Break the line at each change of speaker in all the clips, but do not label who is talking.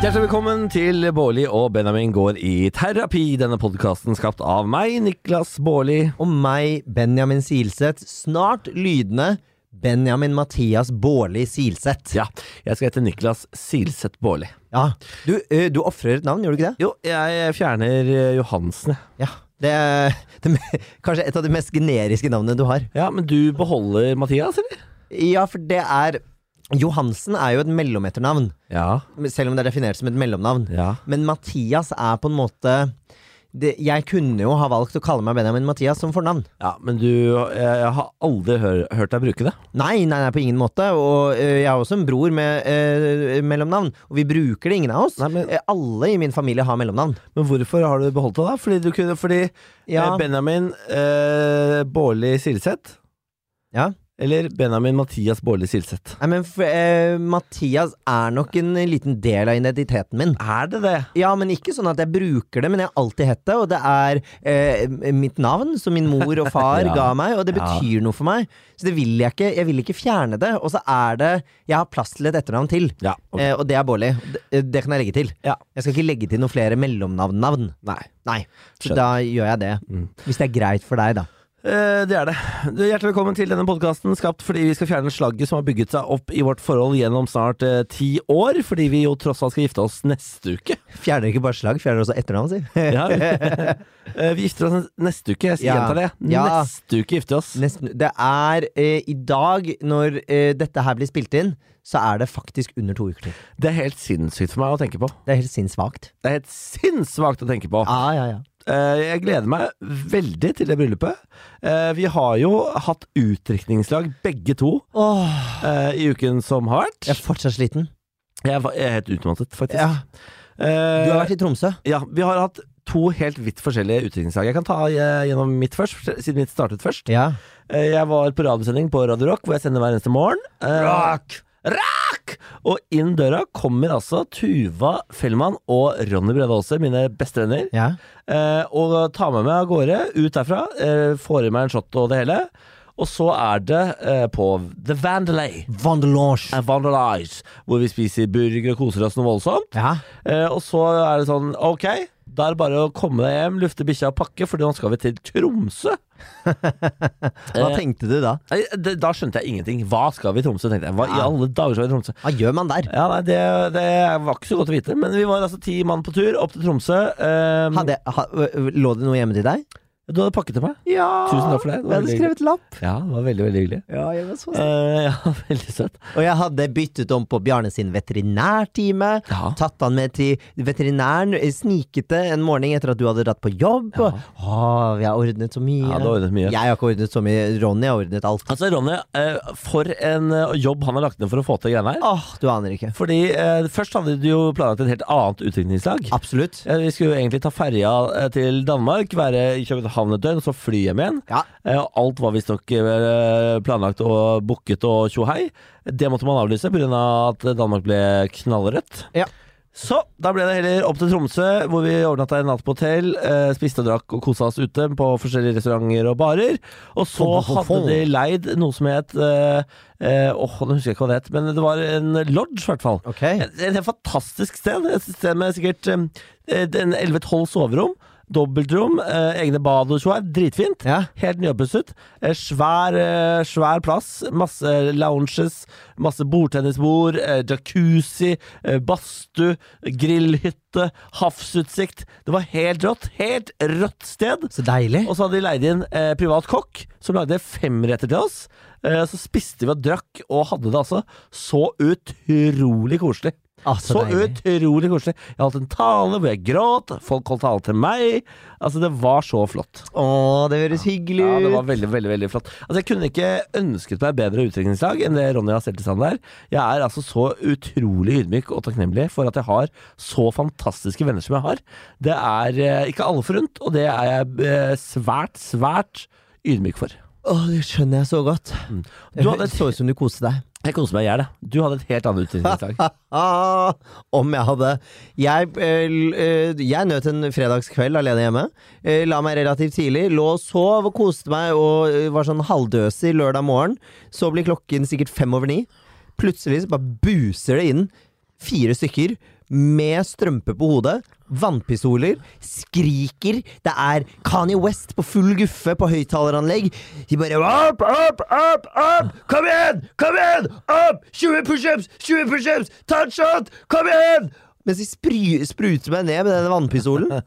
Hjertelig velkommen til Bårli og Benjamin går i terapi. Denne podkasten skapt av meg, Niklas Bårli.
og meg, Benjamin Silseth, snart lydende Benjamin Mathias Bårli Silseth.
Ja, jeg skal hete Niklas Silseth Bårli.
Ja. Du, ø, du ofrer et navn, gjør du ikke det?
Jo, jeg fjerner eh, Johansen, jeg.
Ja. Det er det, me- kanskje et av de mest generiske navnene du har.
Ja, men du beholder Mathias, eller?
Ja, for det er Johansen er jo et mellometternavn,
Ja.
selv om det er definert som et mellomnavn.
Ja.
Men Mathias er på en måte det, Jeg kunne jo ha valgt å kalle meg Benjamin Mathias som fornavn.
Ja, men du Jeg har aldri hør, hørt deg bruke det.
Nei, nei, nei, på ingen måte. Og ø, jeg har også en bror med ø, mellomnavn. Og vi bruker det, ingen av oss.
Nei, men-
Eh, Alle i min familie har mellomnavn.
Men hvorfor har du beholdt det, da? Fordi, du kunne, fordi
Ja.
eh, Benjamin eh, Bårli Silseth
Ja.
eller Benjamin Mathias Bårli Silseth?
Nei, men f eh, Mathias er nok en liten del av identiteten min.
Er det det?
Ja, men ikke sånn at jeg bruker det, men jeg har alltid hett det, og det er eh, mitt navn som min mor og far
Ja.
ga meg, og det
Ja.
betyr noe for meg. Så det vil jeg ikke. Jeg vil ikke fjerne det. Og så er det Jeg har plass til et etternavn til,
Ja. ok.
eh, og det er Bårli. Det, det kan jeg legge til.
Ja.
Jeg skal ikke legge til noen flere mellomnavn-navn.
Nei.
Nei, så
Skjønner.
da gjør jeg det.
Mm.
Hvis det er greit for deg, da.
Eh, Det er det. Du, Hjertelig velkommen til denne podkasten, skapt fordi vi skal fjerne slagget som har bygget seg opp i vårt forhold gjennom snart eh, ti år, fordi vi jo tross alt skal gifte oss neste uke.
Fjerner ikke bare slag, fjerner også etternavn, si.
Ja. Eh, vi gifter oss neste uke, jeg
Ja.
gjentar det.
Ja.
Neste uke gifter vi oss.
Nesten, det er eh, i dag, når eh, dette her blir spilt inn, så er det faktisk under to uker til.
Det er helt sinnssykt for meg å tenke på.
Det er helt sinnssvakt.
Det er helt sinnssvakt å tenke på.
Ja, ja, ja.
Eh, Jeg gleder meg veldig til det bryllupet. Eh, Vi har jo hatt utdrikningslag begge to
Åh,
eh, i uken som har
jeg er
vært.
fortsatt sliten.
Jeg var- jeg er helt utmattet, faktisk.
Ja. Du har vært i Tromsø.
Ja, vi har hatt to helt vidt forskjellige utdrikningslag. Jeg kan ta eh, gjennom mitt først, siden mitt startet først.
Ja.
Eh, Jeg var på radiosending på Radio Rock, hvor jeg sender hver eneste morgen. Eh,
Rock!
Rock! Og inn døra kommer altså Tuva Fellmann og Ronny Brede Aase, mine bestevenner.
Ja.
Eh, og tar med meg av gårde ut derfra. Eh, får i meg en shot og det hele. Og så er det eh, på The Vandelay.
Vandelange.
eh, Vandelays, hvor vi spiser burger og koser oss noe voldsomt.
Ja.
Eh, og så er det sånn, ok, da er det bare å komme deg hjem, lufte bikkja og pakke, for nå skal vi til Tromsø.
Hva
Eh.
tenkte du da?
Nei, det, da skjønte jeg ingenting. Hva skal vi i Tromsø, tenkte jeg. Hva i
Ja.
alle dager skal vi i Tromsø?
Hva gjør man der?
Ja, nei, det, det var ikke så godt å vite, men vi var altså ti mann på tur opp til Tromsø. Eh,
Hadde, ha, lå det noe hjemme til deg?
Du hadde pakket til meg.
Ja.
Tusen takk for det. Det var
Jeg hadde
veldig
skrevet lapp.
Ja, det var veldig, veldig hyggelig.
Ja, jeg var så
Eh, ja, veldig søtt.
Og jeg hadde byttet om på Bjarne sin veterinærtime.
Ja.
Tatt han med til veterinæren, eh, snikete en morgen etter at du hadde dratt på jobb. og- Å, vi har ordnet så mye.
Ja, du har ordnet mye.
Jeg har ikke ordnet så mye. Ronny har ordnet alt.
Altså, Ronny, eh, for en eh, jobb han har lagt ned for å få til greiene her.
Åh, du aner ikke.
Fordi eh, først hadde du jo planlagt et helt annet utdrikningslag.
Absolutt.
Ja, Eh, Vi skulle jo egentlig ta ferja eh, til Danmark, være i København et døgn, så fly hjem igjen.
Ja.
Eh, og Alt var visstnok eh, planlagt og booket og tjohei. Det måtte man avlyse pga. Av at Danmark ble knallrødt.
Ja.
Så da ble det heller opp til Tromsø, hvor vi overnatta en natt på hotell. eh, Spiste og drakk og kosa oss ute på forskjellige restauranter og barer. Og så
Fom, fom, fom,
hadde
fom.
de leid noe som het eh, eh, Åh, nå husker jeg ikke hva det het, men det var en lodge, i hvert fall.
Ok.
Et, et helt fantastisk sted. Et sted med sikkert um, et- en 11-12 soverom. Dobbeltrom, eh, egne bad og tjoer. Dritfint.
Ja.
Helt nyoppusset. Eh, svær, eh, svær plass. Masse eh, lounges, masse bordtennisbord, eh, jacuzzi, eh, badstue, grillhytte, havsutsikt. Det var helt rått. Helt rått sted.
Så deilig.
Og så hadde de leid inn eh, privat kokk, som lagde femretter til oss. Eh, så spiste vi og drakk, og hadde det altså så utrolig koselig.
Ah,
Så,
så deilig.
utrolig koselig. Jeg holdt en tale hvor jeg gråt, folk holdt tale til meg. Altså, det var så flott.
Å, det høres hyggelig
Ja, det var
ut.
veldig, veldig veldig flott. Altså, Jeg kunne ikke ønsket meg bedre utdrikningslag enn det Ronny har stelt i stand der. Jeg er altså så utrolig ydmyk og takknemlig for at jeg har så fantastiske venner som jeg har. Det er eh, ikke alle forunt, og det er jeg eh, svært, svært ydmyk for.
Åh, det skjønner jeg så godt.
Du hadde
Det så ut som du koste deg.
Jeg koser meg i hjel, jeg. Du hadde et helt annet utdrikningslag.
Ah, om jeg hadde jeg, eh, l- eh, jeg nøt en fredagskveld alene hjemme. Eh, La meg relativt tidlig. Lå og sov og koste meg og eh, var sånn halvdøsig lørdag morgen. Så blir klokken sikkert fem over ni. Plutselig så bare buser det inn fire stykker med strømpe på hodet, vannpistoler, skriker. Det er Kanye West på full guffe på høyttaleranlegg. De bare opp, opp, opp, opp! Kom igjen! Kom igjen! Opp! 20 pushups! 20 pushups! Ta en shot! Kom igjen! Mens de spry- spruter meg ned med denne vannpistolen.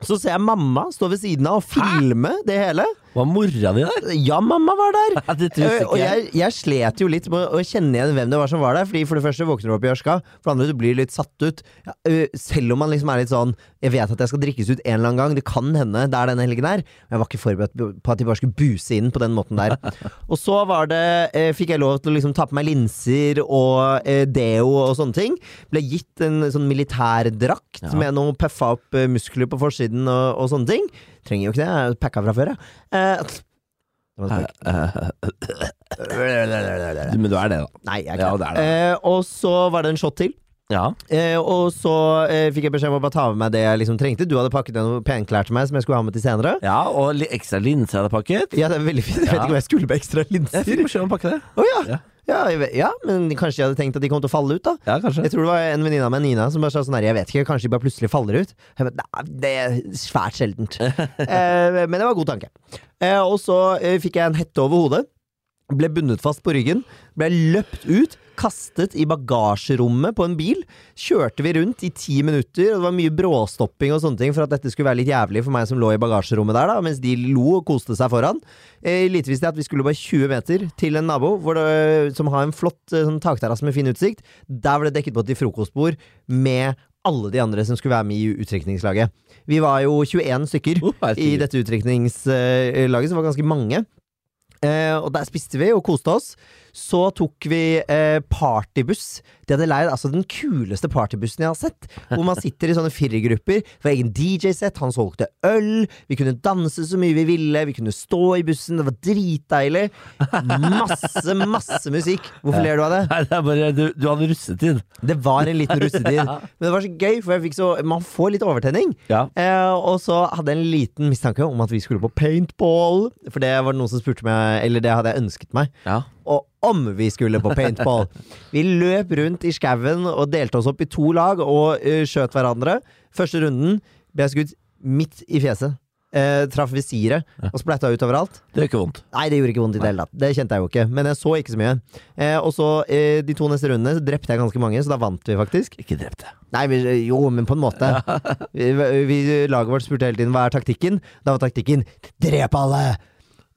Så ser jeg mamma stå ved siden av og filme det hele.
Var mora di der?
Ja, mamma var der!
Ja, det visste
Eh,
ikke
Og
jeg.
jeg, jeg slet jo litt med å- å kjenne igjen hvem det var som var der. Fordi For det første våkner du opp i ørska, for det andre du blir litt satt ut. Ja, eh, selv om man liksom er litt sånn Jeg vet at jeg skal drikkes ut en eller annen gang, det kan hende det er denne helgen her. Men jeg var ikke forberedt på at de bare skulle buse inn på den måten der. Og så var det eh, fikk jeg lov til å liksom ta på meg linser og eh, deo og sånne ting. Ble gitt en sånn militærdrakt med noe puffa opp eh, muskler på forsiden og, og sånne ting. Trenger jo ikke det, jeg er packa fra før, jeg. Eh, det var en spøk.
Du- Men du er det, da.
Nei, jeg er
Ja,
ikke
det er det.
Eh, og så var det en shot til.
Ja.
Eh, og så eh, fikk jeg beskjed om å bare ta med meg det jeg liksom trengte. Du hadde pakket ned noen penklær til meg som jeg skulle ha med til senere.
ja og li ekstra linser jeg hadde pakket.
Ja, det er veldig fint. Jeg vet
Ja.
ikke om jeg skulle med ekstra
Jeg
linser.
fikk beskjed om å pakke det.
Å ja.
Ja.
Ja. jeg vet- ja, men kanskje jeg hadde tenkt at de kom til å falle ut, da.
Ja, kanskje.
Jeg tror det var en venninne av meg, Nina, som bare sa sånn her Jeg vet ikke, kanskje de bare plutselig faller ut. Jeg bare, Nei, det er svært sjeldent. eh, men det var en god tanke. Eh, og så eh, fikk jeg en hette over hodet. Ble bundet fast på ryggen. Ble løpt ut. Kastet i bagasjerommet på en bil. Kjørte vi rundt i ti minutter, og det var mye bråstopping og sånne ting for at dette skulle være litt jævlig for meg som lå i bagasjerommet der, da, mens de lo og koste seg foran. Eh, lite visste jeg at vi skulle bare 20 meter til en nabo hvor det, som har en flott eh, sånn takterrasse med fin utsikt. Der ble det dekket på til frokostbord med alle de andre som skulle være med i utdrikningslaget. Vi var jo 21 stykker
Oh, herregud.
i dette utdrikningslaget, som var ganske mange. Eh, og der spiste vi og koste oss. Så tok vi eh, partybuss. De hadde leid altså, den kuleste partybussen jeg har sett. Hvor man sitter i sånne firergrupper. Det var egen DJ-sett, han solgte øl. Vi kunne danse så mye vi ville. Vi kunne stå i bussen. Det var dritdeilig. Masse, masse musikk. Hvorfor ler du av det?
Nei, det er bare, du, du hadde russetid.
Det var en liten russetid. Men det var så gøy, for jeg fikk så, man får litt overtenning.
Ja.
Eh, og så hadde jeg en liten mistanke om at vi skulle på paintball. For det var det noen som spurte meg, eller det hadde jeg ønsket meg.
ja.
Og om vi skulle på paintball! Vi løp rundt i skauen og delte oss opp i to lag og eh, skjøt hverandre. Første runden ble jeg skutt midt i fjeset. Eh, traff visiret og splatta ut overalt.
Det gjør ikke vondt.
Nei, det gjorde ikke vondt i det hele tatt. Det kjente jeg jo ikke. Men jeg så ikke så mye. Eh, og så eh, de to neste rundene så drepte jeg ganske mange, så da vant vi faktisk.
Ikke drept det.
Nei, vi, jo, men på en måte. Vi, vi, laget vårt spurte hele tiden hva er taktikken. Da var taktikken 'drep alle'!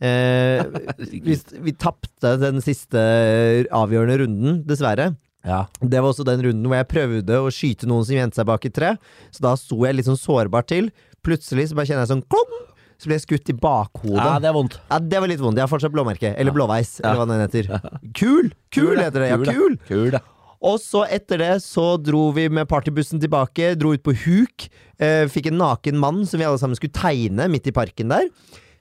Eh, vi vi tapte den siste eh, avgjørende runden, dessverre.
Ja.
Det var også den runden hvor jeg prøvde å skyte noen som gjemte seg bak et tre. Så da sto jeg litt sånn sårbart til. Plutselig så bare kjenner jeg sånn klong! Så ble jeg skutt i bakhodet.
ja, det er vondt.
Ja, Det var litt vondt. Jeg har fortsatt blåmerke. Eller blåveis,
Ja.
eller hva den heter. Kul! Kul heter det. Ja, kul!
Kul, da.
Og så etter det så dro vi med partybussen tilbake, dro ut på huk. Eh, fikk en naken mann som vi alle sammen skulle tegne midt i parken der.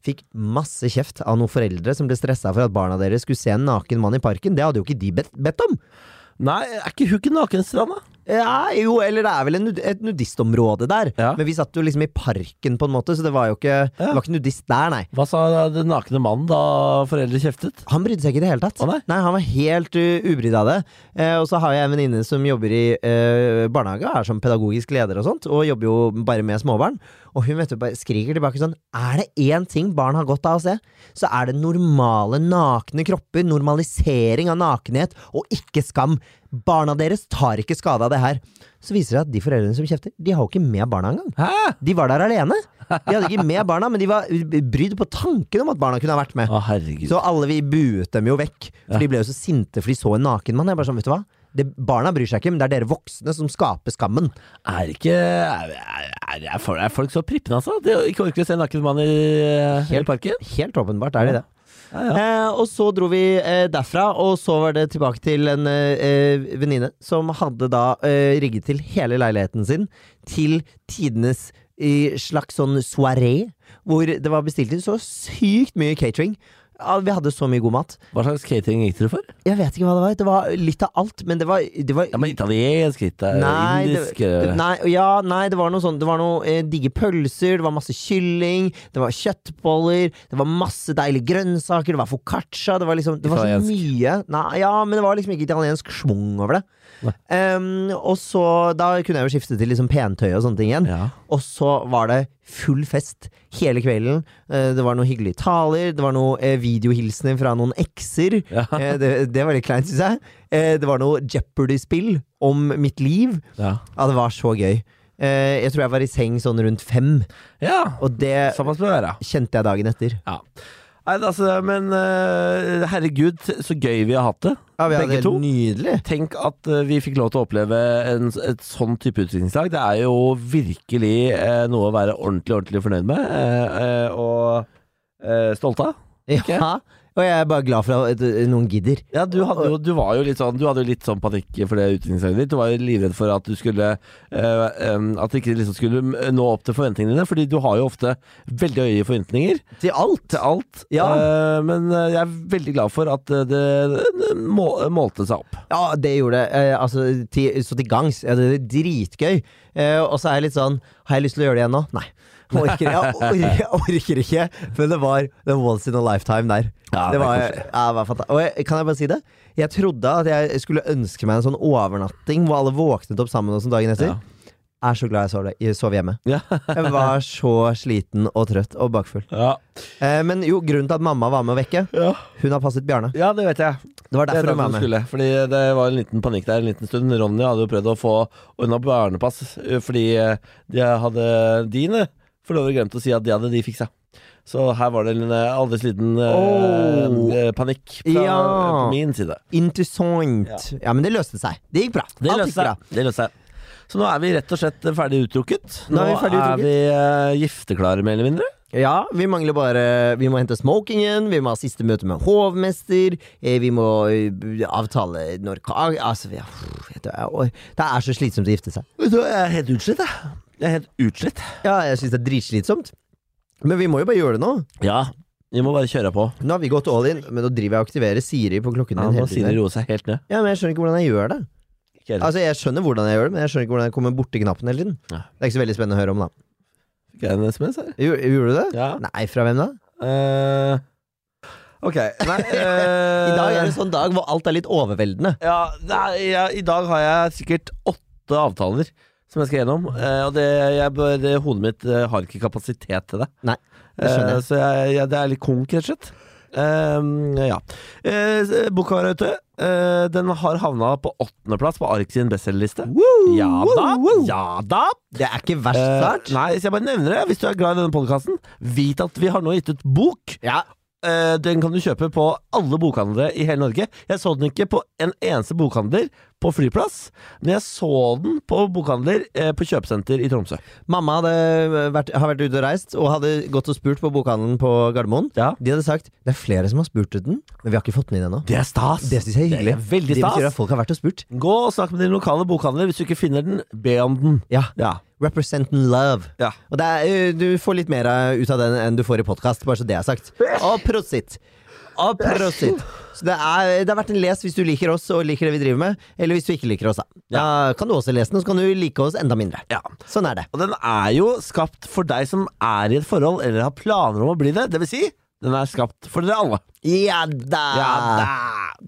Fikk masse kjeft av noen foreldre som ble stressa for at barna deres skulle se en naken mann i parken. Det hadde jo ikke de bedt, bedt om.
Nei, er ikke hooken nakenstranda?
Ja, jo, eller det er vel en nud et nudistområde der.
Ja.
Men vi satt jo liksom i parken, på en måte, så det var jo ikke, det var ikke nudist der, nei.
Hva sa den nakne mannen da foreldre kjeftet?
Han brydde seg ikke i det hele tatt.
Å, nei?
Han var helt uh, ubrydd av det. Eh, og så har jeg en venninne som jobber i eh, barnehage, er som pedagogisk leder og sånt, og jobber jo bare med småbarn. Og hun vet du, bare skriker tilbake sånn Er det én ting barn har godt av å se, så er det normale nakne kropper, normalisering av nakenhet og ikke skam. Barna deres tar ikke skade av det her. Så viser det seg at de foreldrene som kjefter, de har jo ikke med barna engang.
Hæ?
De var der alene. De hadde ikke med barna, men de var brydd på tanken om at barna kunne ha vært med.
Å, herregud.
Så alle vi buet dem jo vekk, for de ble jo så sinte for de så en naken mann. Jeg bare sånn, vet du hva? Det, barna bryr seg ikke, men det er dere voksne som skaper skammen.
Er ikke er, er, er, er folk- er folk så prippende, altså? De ikke orker å se en naken mann i, i parken?
Helt åpenbart er de det.
Ja, ja.
Eh, og så dro vi eh, derfra, og så var det tilbake til en eh, eh, venninne som hadde da eh, rigget til hele leiligheten sin til tidenes eh, slags sånn soaré, hvor det var bestilt inn så sykt mye catering. ah, Vi hadde så mye god mat.
Hva slags catering gikk dere for?
Jeg vet ikke hva det var. Det var litt av alt, men det var, det var
Ja, men Italiensk, litt der,
Nei,
Eh, indisk
det,
eh,
nei, ja, nei, det var noe sånn Det var noe eh, digge pølser, det var masse kylling, det var kjøttboller, det var masse deilige grønnsaker, det var foccaccia Det var liksom Det var så
Italiensk.
mye. Nei, ja, men det var liksom ikke italiensk schwung over det. Em, og så Da kunne jeg jo skifte til liksom pentøy og sånne ting igjen.
Ja.
Og så var det full fest hele kvelden. Eh, Det var noen hyggelige taler, det var noen eh, videohilsener fra noen ekser.
Ja.
Eh, Det, det var litt kleint, syns jeg. Eh, Det var noe Jeopardy-spill om mitt liv.
Ja.
Ja, det var så gøy. Eh, Jeg tror jeg var i seng sånn rundt fem,
ja.
og det
Samme som det være.
kjente jeg dagen etter.
Ja. Nei, altså, men eh, herregud, så gøy vi har hatt det.
Ja, vi
Begge
hadde
to.
Nydelig.
Tenk at eh, vi fikk lov til å oppleve en, et sånn type utviklingslag. Det er jo virkelig eh, noe å være ordentlig, ordentlig fornøyd med. eh, eh, og eh, stolt av. Ikke?
Ja, og jeg er bare glad for at eh, noen gidder.
Ja, du, hadde jo, du var jo litt sånn Du hadde jo litt sånn panikk for det utviklingslaget ditt. Du var jo livredd for at du skulle eh, em, At det ikke liksom skulle nå opp til forventningene dine. Fordi du har jo ofte veldig høye forventninger
Til alt.
til alt.
Ja.
Eh, men eh, jeg er veldig glad for at eh, det, det må, målte seg opp.
Ja, det gjorde det. Eh, altså, til, så til gangs. Ja, det er dritgøy. Eh, og så er jeg litt sånn Har jeg lyst til å gjøre det igjen nå? Nei. Jeg orker, jeg, orker, jeg orker ikke. Men det var the once in a lifetime der.
Ja, det
det
er
var,
koselig.
ja, det var fanta- og jeg, kan jeg bare si det? Jeg trodde at jeg skulle ønske meg en sånn overnatting hvor alle våknet opp sammen og sånn dagen etter.
Ja.
Jeg er så glad jeg sov, jeg sov hjemme.
Ja.
Jeg var så sliten og trøtt og bakfull.
Ja.
Eh, men jo, grunnen til at mamma var med å vekke,
ja.
hun har passet Bjarne.
Ja, det vet jeg.
Det var
Det er derfor
derfor hun var
du
med.
skulle, fordi eh, det var en liten panikk der en liten stund. Ronny hadde jo prøvd å få unna barnepass eh, fordi eh, de hadde dine forlovere glemt å si at de hadde de fiksa. Så her var det en eh, aldri sliten eh,
Åh.
eh, panikk fra
Ja.
eh, min side.
Interessant. Ja. men det løste seg. Det gikk bra.
Det
Alt gikk
løste
bra.
seg. Det løste seg. Så nå er vi rett og slett ferdig utrukket.
Nå er vi ferdig
er
utrukket.
vi eh, gifteklare, mer eller mindre.
Ja, vi mangler bare Vi må hente smokingen, vi må ha siste møte med hovmester, eh, vi må eh, avtale når ka- Altså, ja, pff, vet du, jeg or- Det er så slitsomt å gifte seg.
Vet du hva, Jeg er helt utslitt, jeg. Jeg er helt utslitt.
Ja, jeg syns det er dritslitsomt. Men vi må jo bare gjøre det nå.
Ja. Vi må bare kjøre på.
Nå har vi gått all in, men nå driver jeg og aktiverer Siri på klokken
Ja, nå
din hele
sier det
tiden.
roe seg helt ned.
Ja, men jeg skjønner ikke hvordan jeg gjør det.
Ikke heller.
Altså, jeg skjønner hvordan jeg gjør det, men jeg skjønner ikke hvordan jeg kommer borti knappen hele tiden.
Ja.
Det er ikke så veldig spennende å høre om, da.
Fikk jeg en SMS her?
Gj- Gjorde du det?
Ja.
Nei, fra hvem da?
Eh, ok, nei
I dag
Eh.
er det sånn dag hvor alt er litt overveldende.
Ja, nei, jeg, i dag har jeg sikkert åtte avtaler som jeg skal gjennom. eh, og det, jeg, bør- det, hodet mitt eh, har ikke kapasitet til det.
Nei, det skjønner
Eh,
jeg.
så jeg, jeg, det er litt konk, rett og slett. Eh, ja. Uh, Boka var ute. Eh, den har havna på åttendeplass på Ark sin bestselgerliste. Ja da, ja da.
Eh, Det er ikke verst
Eh,
start.
nei, så jeg bare nevner det. Hvis du er glad i denne podkasten, vit at vi har nå gitt ut bok.
ja.
Eh, Den kan du kjøpe på alle bokhandlere i hele Norge. Jeg så den ikke på en eneste bokhandler på flyplass, men jeg så den på bokhandler eh, på kjøpesenter i Tromsø.
Mamma hadde vært, har vært ute og reist og hadde gått og spurt på bokhandelen på Gardermoen.
Ja.
De hadde sagt det er flere som har spurt den, men vi har ikke fått den inn ennå.
Det er stas!
Det syns jeg er
Det
hyggelig.
er veldig
Det betyr
stas.
at folk har vært og spurt.
Gå og snakk med din lokale bokhandler. Hvis du ikke finner den, be om den.
Ja.
Ja.
Represent and love.
Ja.
Og det er, eh, du får litt mer eh, ut av den enn du får i podkast, bare så det er sagt. Og prosit. Og prosit. Så det, er, det har vært en les hvis du liker oss og liker det vi driver med, eller hvis du ikke liker oss, da. Da kan du også lese den, og så kan du like oss enda mindre.
ja.
Sånn er det.
Og den er jo skapt for deg som er i et forhold eller har planer om å bli det. Det vil si, den er skapt for dere alle.
Ja da!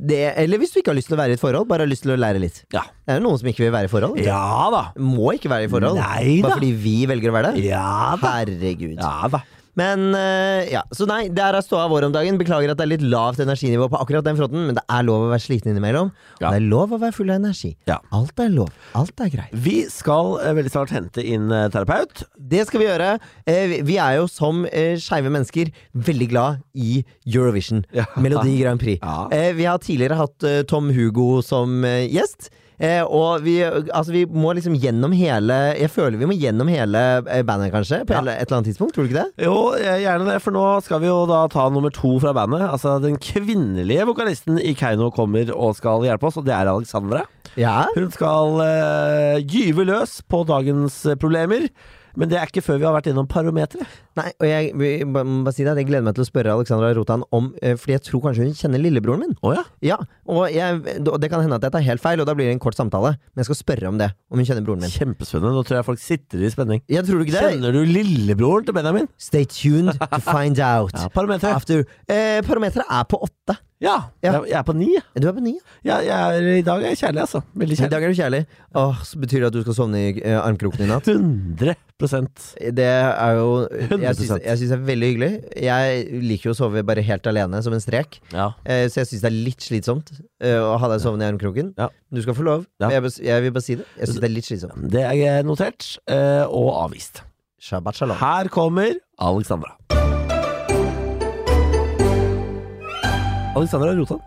Det, eller hvis du ikke har lyst til å være i et forhold, bare har lyst til å lære litt.
Ja.
Det er jo noen som ikke vil være i forhold. vet du.
Ja da.
Må ikke være i forhold.
Nei da.
Bare fordi vi velger å være det.
Ja da.
Herregud.
Ja da.
Men eh, ja, så nei, der er ståa vår om dagen. Beklager at det er litt lavt energinivå på akkurat den fronten, men det er lov å være sliten innimellom.
Ja.
Og det er lov å være full av energi.
Ja.
Alt er lov. Alt er greit.
Vi skal eh, veldig snart hente inn eh, terapeut.
Det skal vi gjøre. Eh, vi- vi er jo som uh, skeive mennesker veldig glad i Eurovision.
Ja.
Melodi Grand Prix.
Ja.
Eh, vi har tidligere hatt eh, Tom Hugo som eh, gjest. Eh, og vi, altså, vi må liksom gjennom hele Jeg føler vi må gjennom hele eh, bandet, kanskje? På
Ja.
hele- et eller annet tidspunkt, tror du ikke det?
Jo, eh, gjerne det, for nå skal vi jo da ta nummer to fra bandet. Altså Den kvinnelige vokalisten i Keiino kommer og skal hjelpe oss, og det er Alexandra.
Ja
Hun skal eh, gyve løs på dagens eh, problemer. Men det er ikke før vi har vært innom parometeret.
Nei, og jeg vil bare- må bare si det, at jeg gleder meg til å spørre Alexandra Rotan om eh, Fordi jeg tror kanskje hun kjenner lillebroren min.
Å ja.
Ja, og, jeg, og det kan hende at jeg tar helt feil, og da blir det en kort samtale. Men jeg skal spørre om det, om hun kjenner broren min.
Kjempespennende. Nå tror jeg folk sitter i spenning.
Jeg tror du ikke det?
Kjenner du lillebroren til Benjamin?
Stay tuned to find out.
Ja, Parometeret.
After. Eh, parameteret er på åtte.
Ja.
Ja.
Jeg, jeg er på ni. jeg.
Du er på ni. ja.
Jeg, jeg er, I dag er jeg kjærlig, altså. Veldig
I
kjærlig.
dag er du kjærlig. Åh, så betyr det at du skal sovne i eh, armkroken i natt?
100
Det er jo Jeg
100%.
syns jeg syns det er veldig hyggelig. Jeg liker jo å sove bare helt alene, som en strek.
Ja.
Eh, så jeg syns det er litt slitsomt eh, å ha deg sovende i armkroken.
Ja.
Du skal få lov.
Ja.
men Jeg, bes- jeg vil bare si det. Jeg syns det er litt slitsomt.
Det er notert eh, og avvist.
Shabbat shalom.
Her kommer Alexandra. Alexandra Rotan.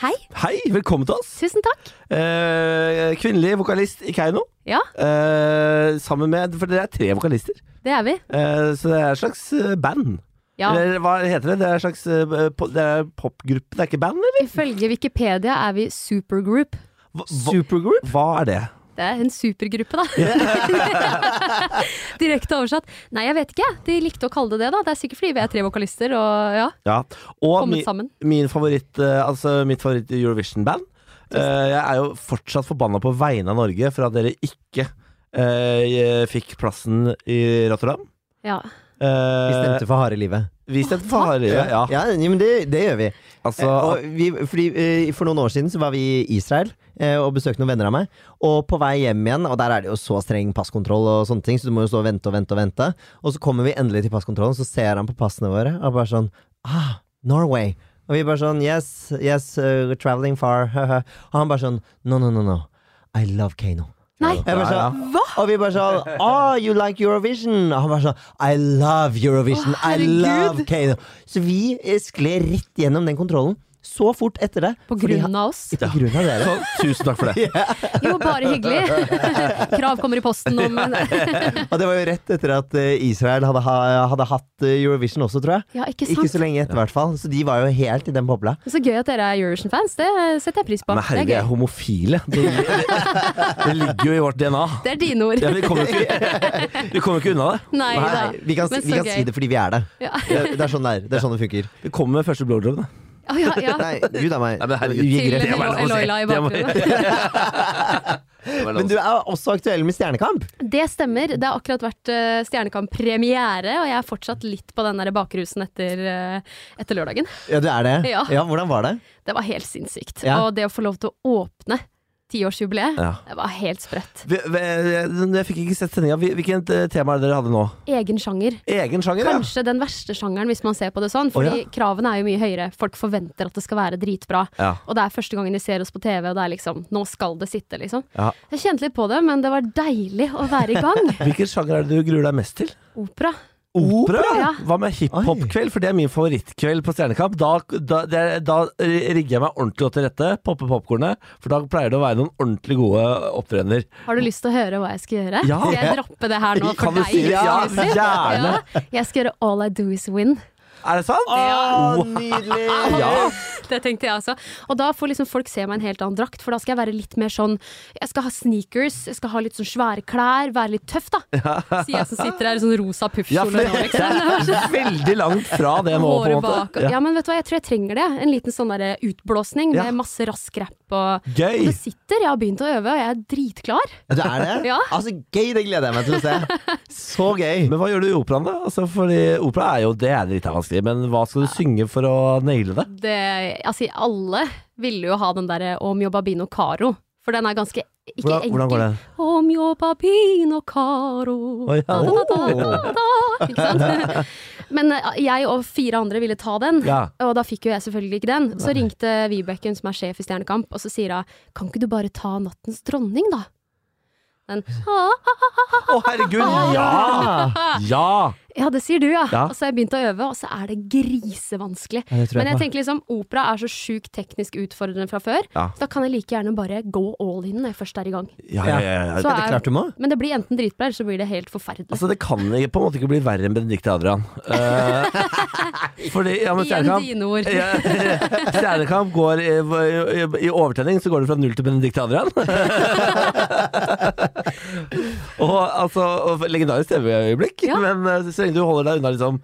Hei,
Hei, velkommen til oss.
tusen takk.
Eh, kvinnelig vokalist i Keiino.
Ja,
Eh, sammen med For dere er tre vokalister.
det er vi.
Eh, så det er et slags eh, band.
Ja.
Eh.
Eller hva heter det? Det er et slags eh, po det er popgruppe. Det er ikke band, eller?
Ifølge Wikipedia er vi supergroup.
Hva, hva,
Supergroup?
hva er det?
Det er en supergruppe, da. Direkte oversatt. Nei, jeg vet ikke. De likte å kalle det det, da. Det er sikkert fordi vi er tre vokalister og ja,
Ja. Og
kommet
mi-
sammen.
min favoritt, eh, altså mitt favoritt Eurovision-band. Eh, jeg er jo fortsatt forbanna på vegne av Norge for at dere ikke eh, fikk plassen i Rotterdam.
Ja.
Vi
Eh,
stemte for harde livet.
vi stemte for harde livet, ja.
Ja, men det, det gjør vi.
Altså,
og vi fordi, eh, for noen år siden så var vi i Israel eh, og besøkte noen venner av meg. Og på vei hjem igjen, og der er det jo så streng passkontroll, og sånne ting, så du må jo stå og vente og vente. Og vente Og så kommer vi endelig til passkontrollen, så ser han på passene våre og bare sånn Ah, Norway. Og vi bare sånn Yes, yes, uh, we're traveling far. og han bare sånn No, no, no, no. I love Kano.
Nei,
Jeg bare sånn, Og vi bare sånn Oh, you like Eurovision? Og han bare sånn I love Eurovision.
Å,
I
herregud.
love Kano. Så vi eh, skled rett gjennom den kontrollen så fort etter det.
på
fordi han-
grunn av oss.
På grunn av dere.
så, altså, tusen takk for det.
Jo, bare hyggelig. Krav kommer i posten om
Og det var jo rett etter at eh, Israel hadde, ha, hadde hatt eh, Eurovision også, tror jeg.
Ja, ikke
Ikke så
sant?
lenge etter, i hvert fall. Så de var jo helt i den bobla.
Så gøy at dere er Eurovision-fans. Det setter jeg pris på.
Men
Det
herregud, jeg
er
er
gøy.
homofile. Det, det ligger jo i vårt DNA.
Det er dine ord.
Ja, vi kommer jo ikke, vi kommer jo ikke unna det.
Nei da.
Nei, vi kan, si-
Men så
vi kan
gøy.
si det fordi vi er det.
Ja.
Det det er sånn det er. Det er sånn det funker.
Vi kommer med første blowjob, da.
Å, ja, ja.
Nei, gud a meg.
Nei, men herregud.
Du gikk
Til
rett.
Det var lov å si.
Eloila
Det
i
var-
bakgrunnen.
Det var lov å
Men
si.
du er også aktuell med Stjernekamp.
Det stemmer. Det har akkurat vært eh, Stjernekamp-premiere, og jeg er fortsatt litt på den der bakrusen etter, eh, etter lørdagen.
Ja, du er det.
Ja.
ja hvordan var det?
Det var helt sinnssykt.
Ja.
Og det å få lov til å åpne tiårsjubileet,
Ja.
det var helt sprøtt.
Vi- vi- Jeg fikk ikke sett sendinga. Hvilket eh, tema er det dere hadde nå?
Egen sjanger.
Egen sjanger, ja.
Kanskje den verste sjangeren, hvis man ser på det sånn. Fordi
Å, ja.
kravene er jo mye høyere. Folk forventer at det skal være dritbra.
ja.
Og det er første gangen de ser oss på TV, og det er liksom Nå skal det sitte, liksom.
Ja.
Jeg kjente litt på det, men det var deilig å være i gang.
Hvilken sjanger er det du gruer deg mest til?
Opera.
Opera?
Ja.
Hva med hiphop-kveld? For det er min favorittkveld på Stjernekamp. Da, da, det er, da rigger jeg meg ordentlig godt til rette, popper popkornet, for da pleier det å være noen ordentlig gode opptredener.
Har du lyst til å høre hva jeg skal gjøre?
Ja.
Skal jeg droppe det her nå
Kan
for
du
deg?
si det? Ja,
Lucy?
gjerne.
Ja. Jeg skal gjøre All I Do Is Win.
Er det sant?
Å,
Wow.
nydelig!
Ja.
Det tenkte jeg også. Og da får liksom folk se meg i en helt annen drakt, for da skal jeg være litt mer sånn Jeg skal ha sneakers, jeg skal ha litt sånn svære klær, være litt tøff, da. Sier jeg som sitter her i sånn rosa
Ja, for
puffkjole nå,
det
liksom.
er veldig langt fra det nå, på en
Håret bak.
måte.
og-
Ja.
Ja, men vet du hva, jeg tror jeg trenger det. En liten sånn der utblåsning
Ja.
med masse rask rap og Og
Gøy!
Det sitter. Jeg har begynt å øve, og jeg er dritklar.
Ja, Du er det?
Ja.
Altså, gøy! Det gleder jeg meg til å se. Så gøy!
Men hva gjør du i operaen, da? Altså, fordi opera er jo det er litt vanskelig, men hva skal du synge for å naile det?
det, altså, alle ville jo ha den derre Om Jobabino Caro. For den er ganske ikke
Hvordan,
enkel.
hvordan går det?
Om Jobabino Caro
Å, ja.
da, da, da, da, da, da. Ikke sant? Men eh, jeg og fire andre ville ta den.
Ja.
Og da fikk jo jeg selvfølgelig ikke den. Så ringte Vibeke, hun som er sjef i Stjernekamp, og så sier hun kan ikke du bare ta Nattens dronning, da? Den, ah, ah,
Å, herregud! Ja! Ja!
Ja, det sier du, ja.
Ja.
Og så har jeg begynt å øve, og så er det grisevanskelig.
Ja, det tror jeg
Men jeg
på.
tenker liksom, opera er så sjukt teknisk utfordrende fra før,
Ja.
så da kan jeg like gjerne bare gå all in når jeg først er i gang.
Ja, ja, ja, ja.
Så
det er klart du må.
Men det blir enten dritbra, eller så blir det helt forferdelig.
Altså, det kan ikke- på en måte ikke bli verre enn Benedicte Adrian. Eh, fordi, ja, men
Igjen
Stjernekamp
dine ord.
ja, Stjernekamp går i, i, i overtenning, så går det fra null til Benedicte Adrian. og altså og Legendarisk TV-øyeblikk,
Ja.
men eh, så lenge du holder deg unna liksom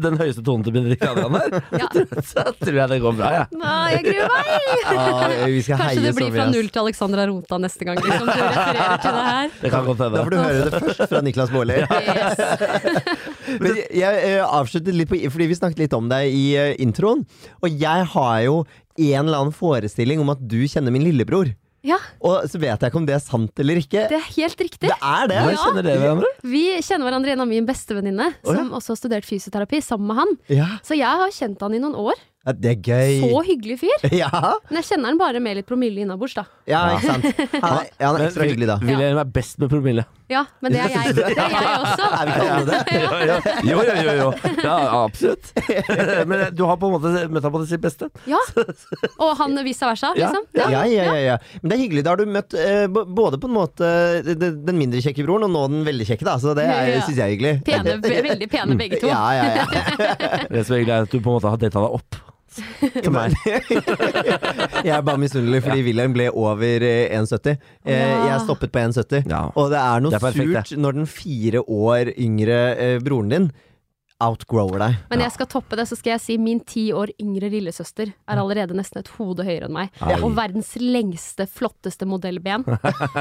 den høyeste tonen til Benedicte Adrian der,
Ja.
så tror jeg det går bra, jeg.
Nei, jeg gruer meg!
Ja, Ah, vi skal
Kanskje
heie
det
så
blir
mye.
fra
ass.
null til Alexandra Rota neste gang, liksom. Du refererer til det her.
Det kan godt
Da får
hende.
du høre det først fra Niklas Baarli.
Yes.
Men jeg- jeg eh, avsluttet litt på, fordi vi snakket litt om deg i eh, introen. Og jeg har jo en eller annen forestilling om at du kjenner min lillebror.
Ja,
Og så vet jeg ikke om det er sant eller ikke.
det er helt riktig.
Det er det!
Hvordan
Ja.
kjenner dere hverandre?
Vi kjenner hverandre gjennom min bestevenninne,
Å, ja.
som også har studert fysioterapi sammen med han.
Ja,
Så jeg har kjent han i noen år.
Ja, det er gøy.
Så hyggelig fyr.
Ja,
Men jeg kjenner han bare med litt promille innabords, da.
ja, ikke sant. Han er, han er ekstra hyggelig, da.
Wilhelm er best med promille.
Ja, men det er jeg. Det er jeg også.
Er vi ikke alle det?
Jo, jo, jo. jo, jo. Ja, absolutt. Men eh, du har på en måte møtt ham på det sitt beste.
Ja. Og han vice versa,
Ja.
liksom.
Ja, ja, ja, ja. Men det er hyggelig. Da har du møtt eh, b- både på en måte d- d- den mindre kjekke broren og nå den veldig kjekke, da. Så det er-
Ja.
syns jeg er hyggelig.
Pene, ve- veldig pene begge to.
Ja, ja, ja.
Det som er hyggelig, er at du på en måte har data deg opp til meg.
Jeg er bare misunnelig fordi Wilhelm ble over eh, 1,70. Eh,
Ja.
jeg stoppet på 1,70.
Ja.
Og det er noe
Det er perfekt, det.
surt når den fire år yngre eh, broren din outgrower deg.
Men jeg skal toppe det, så skal jeg si min ti år yngre lillesøster er allerede nesten et hode høyere enn meg.
Oi.
Og verdens lengste, flotteste modellben.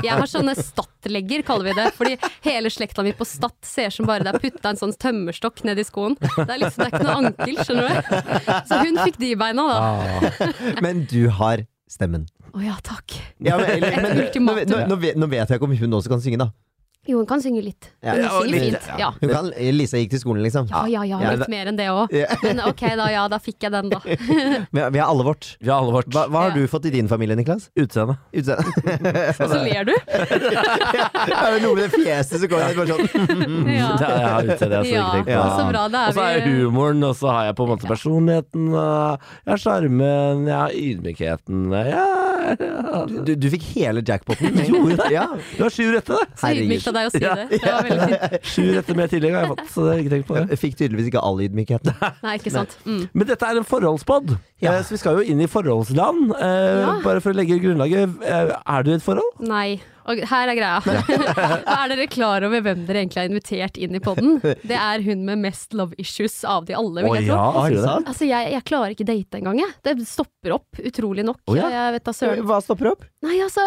Jeg har sånne stattlegger, kaller vi det. Fordi hele slekta mi på Statt ser som bare det er putta en sånn tømmerstokk ned i skoen. Det er liksom det er ikke noe ankel, skjønner du. Så hun fikk de beina, da.
Men du har stemmen.
Å ja, takk.
Ja, men, eller,
Et
men, nå,
ultimatum.
nå, nå, vet, nå vet jeg ikke om hun også kan synge, da.
Jo, hun kan synge litt.
Ja.
Hun
Ja, og
synger
litt,
fint. Ja.
Hun kan, Lisa gikk til skolen, liksom.
Ja, ja, ja.
Ja, det-
Litt mer enn det òg.
Ja.
Men ok, da. Ja, da fikk jeg den, da.
Vi, har- vi har alle vårt.
Vi har alle vårt
Hva, hva har
Ja.
du fått i din familie, Niklas?
utseende.
Utseende.
Og så ler du.
er det noe med det fjeset som går inn bare sånn?
Ja.
Ja.
jeg har utseende, jeg har så
Ja,
ikke tenkt på
Ja.
så bra. Da
Og så har
er
jeg
vi eh,
humoren, og så har jeg på en måte personligheten. og Jeg har sjarmen, jeg har ydmykheten. Jeg jeg-
Du, du fikk hele jackpoten.
Gjorde jeg?
Ja.
Du har sju rette, det!
så ydmykt av deg å si det. Det var veldig fint.
Sju rette med tillegg har jeg fått, så det har jeg ikke tenkt på det.
Fikk tydeligvis ikke all ydmykheten.
Nei, ikke sant. Mm.
Men dette er en forholdspod,
Ja.
Eh, så vi skal jo inn i forholdsland. Eh,
Ja.
Bare for å legge grunnlaget. eh, Er du i et forhold?
Nei. Og her er greia. er dere klar over hvem dere egentlig har invitert inn i poden? Det er hun med mest love issues av de alle, vil jeg tro.
ja, sier du det?
sant?
Altså, jeg, jeg klarer ikke date engang, jeg. Det stopper opp, utrolig nok.
Å, ja.
Jeg vet da søren.
Hva stopper opp?
Nei, altså,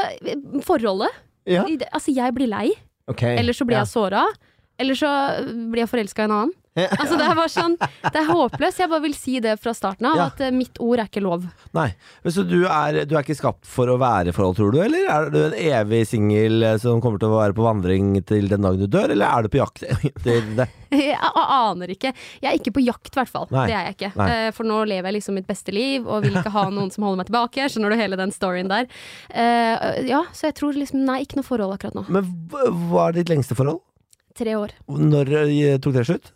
forholdet.
Ja.
I det- Altså, jeg blir lei.
Ok.
Eller så blir
Ja.
jeg såra. Eller så eh, blir jeg forelska i en annen. Altså, det er bare sånn Det er håpløst. Jeg bare vil si det fra starten av,
Ja.
at eh, mitt ord er ikke lov.
Nei, men Så du er, du er ikke skapt for å være i forhold, tror du? Eller er du en evig singel eh, som kommer til å være på vandring til den dagen du dør, eller er du på jakt etter det?
Jeg a- aner ikke. Jeg er ikke på jakt, i hvert fall.
Nei.
Det er jeg ikke.
Nei.
Eh, For nå lever jeg liksom mitt beste liv og vil ikke ha noen som holder meg tilbake. Skjønner du hele den storyen der? Eh, Ja, så jeg tror liksom Nei, ikke noe forhold akkurat nå.
Men hva hva er ditt lengste forhold?
Tre år.
Når eh, tok det slutt?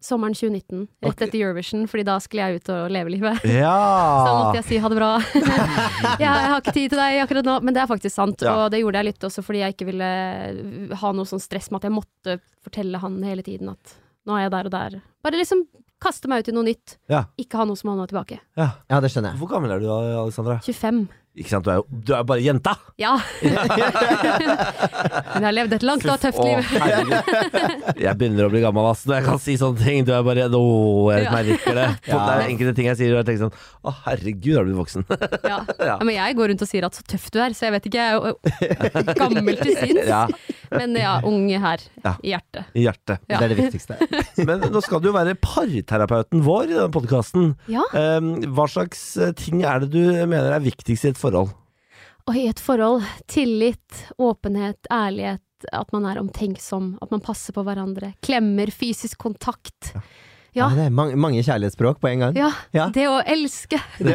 Sommeren 2019. Rett
Ok.
etter Eurovision, Fordi da skulle jeg ut og leve livet. Så da
Ja!
måtte Sånn jeg si ha det bra. Ja, jeg har ikke tid til deg akkurat nå, men det er faktisk sant.
Ja.
Og det gjorde jeg litt også fordi jeg ikke ville ha noe sånn stress med at jeg måtte fortelle han hele tiden at nå er jeg der og der. Bare liksom kaste meg ut i noe nytt.
Ja.
Ikke ha noe som holder meg tilbake.
ja.
Ja, det skjønner jeg.
Hvor gammel er du da, Alexandra?
25.
Ikke sant, du er jo du er bare jenta!
Ja. men jeg har levd et langt og tøft
Å,
liv.
herregud. jeg begynner å bli gammel, ass. Når jeg kan si sånne ting. Du er bare Å, jeg
Ja.
merker det.
Ja.
Det er enkelte ting jeg sier og jeg tenker sånn Å, herregud, er du voksen?
Ja. Ja, men jeg går rundt og sier at så tøff du er, så jeg vet ikke, jeg er jo gammel til sinns.
Ja.
Men ja, ung her
Ja.
i hjertet.
I hjertet.
Ja.
Det er det viktigste.
Men nå skal du jo være parterapeuten vår i denne podkasten.
Ja.
hva slags eh, ting er det du mener er viktigst i et forhold?
Og i et forhold, tillit, åpenhet, ærlighet, at man er omtenksom, at man passer på hverandre, klemmer, fysisk kontakt.
Ja.
Ja,
det er mange, mange kjærlighetsspråk på en gang.
ja,
Ja.
det å elske. Det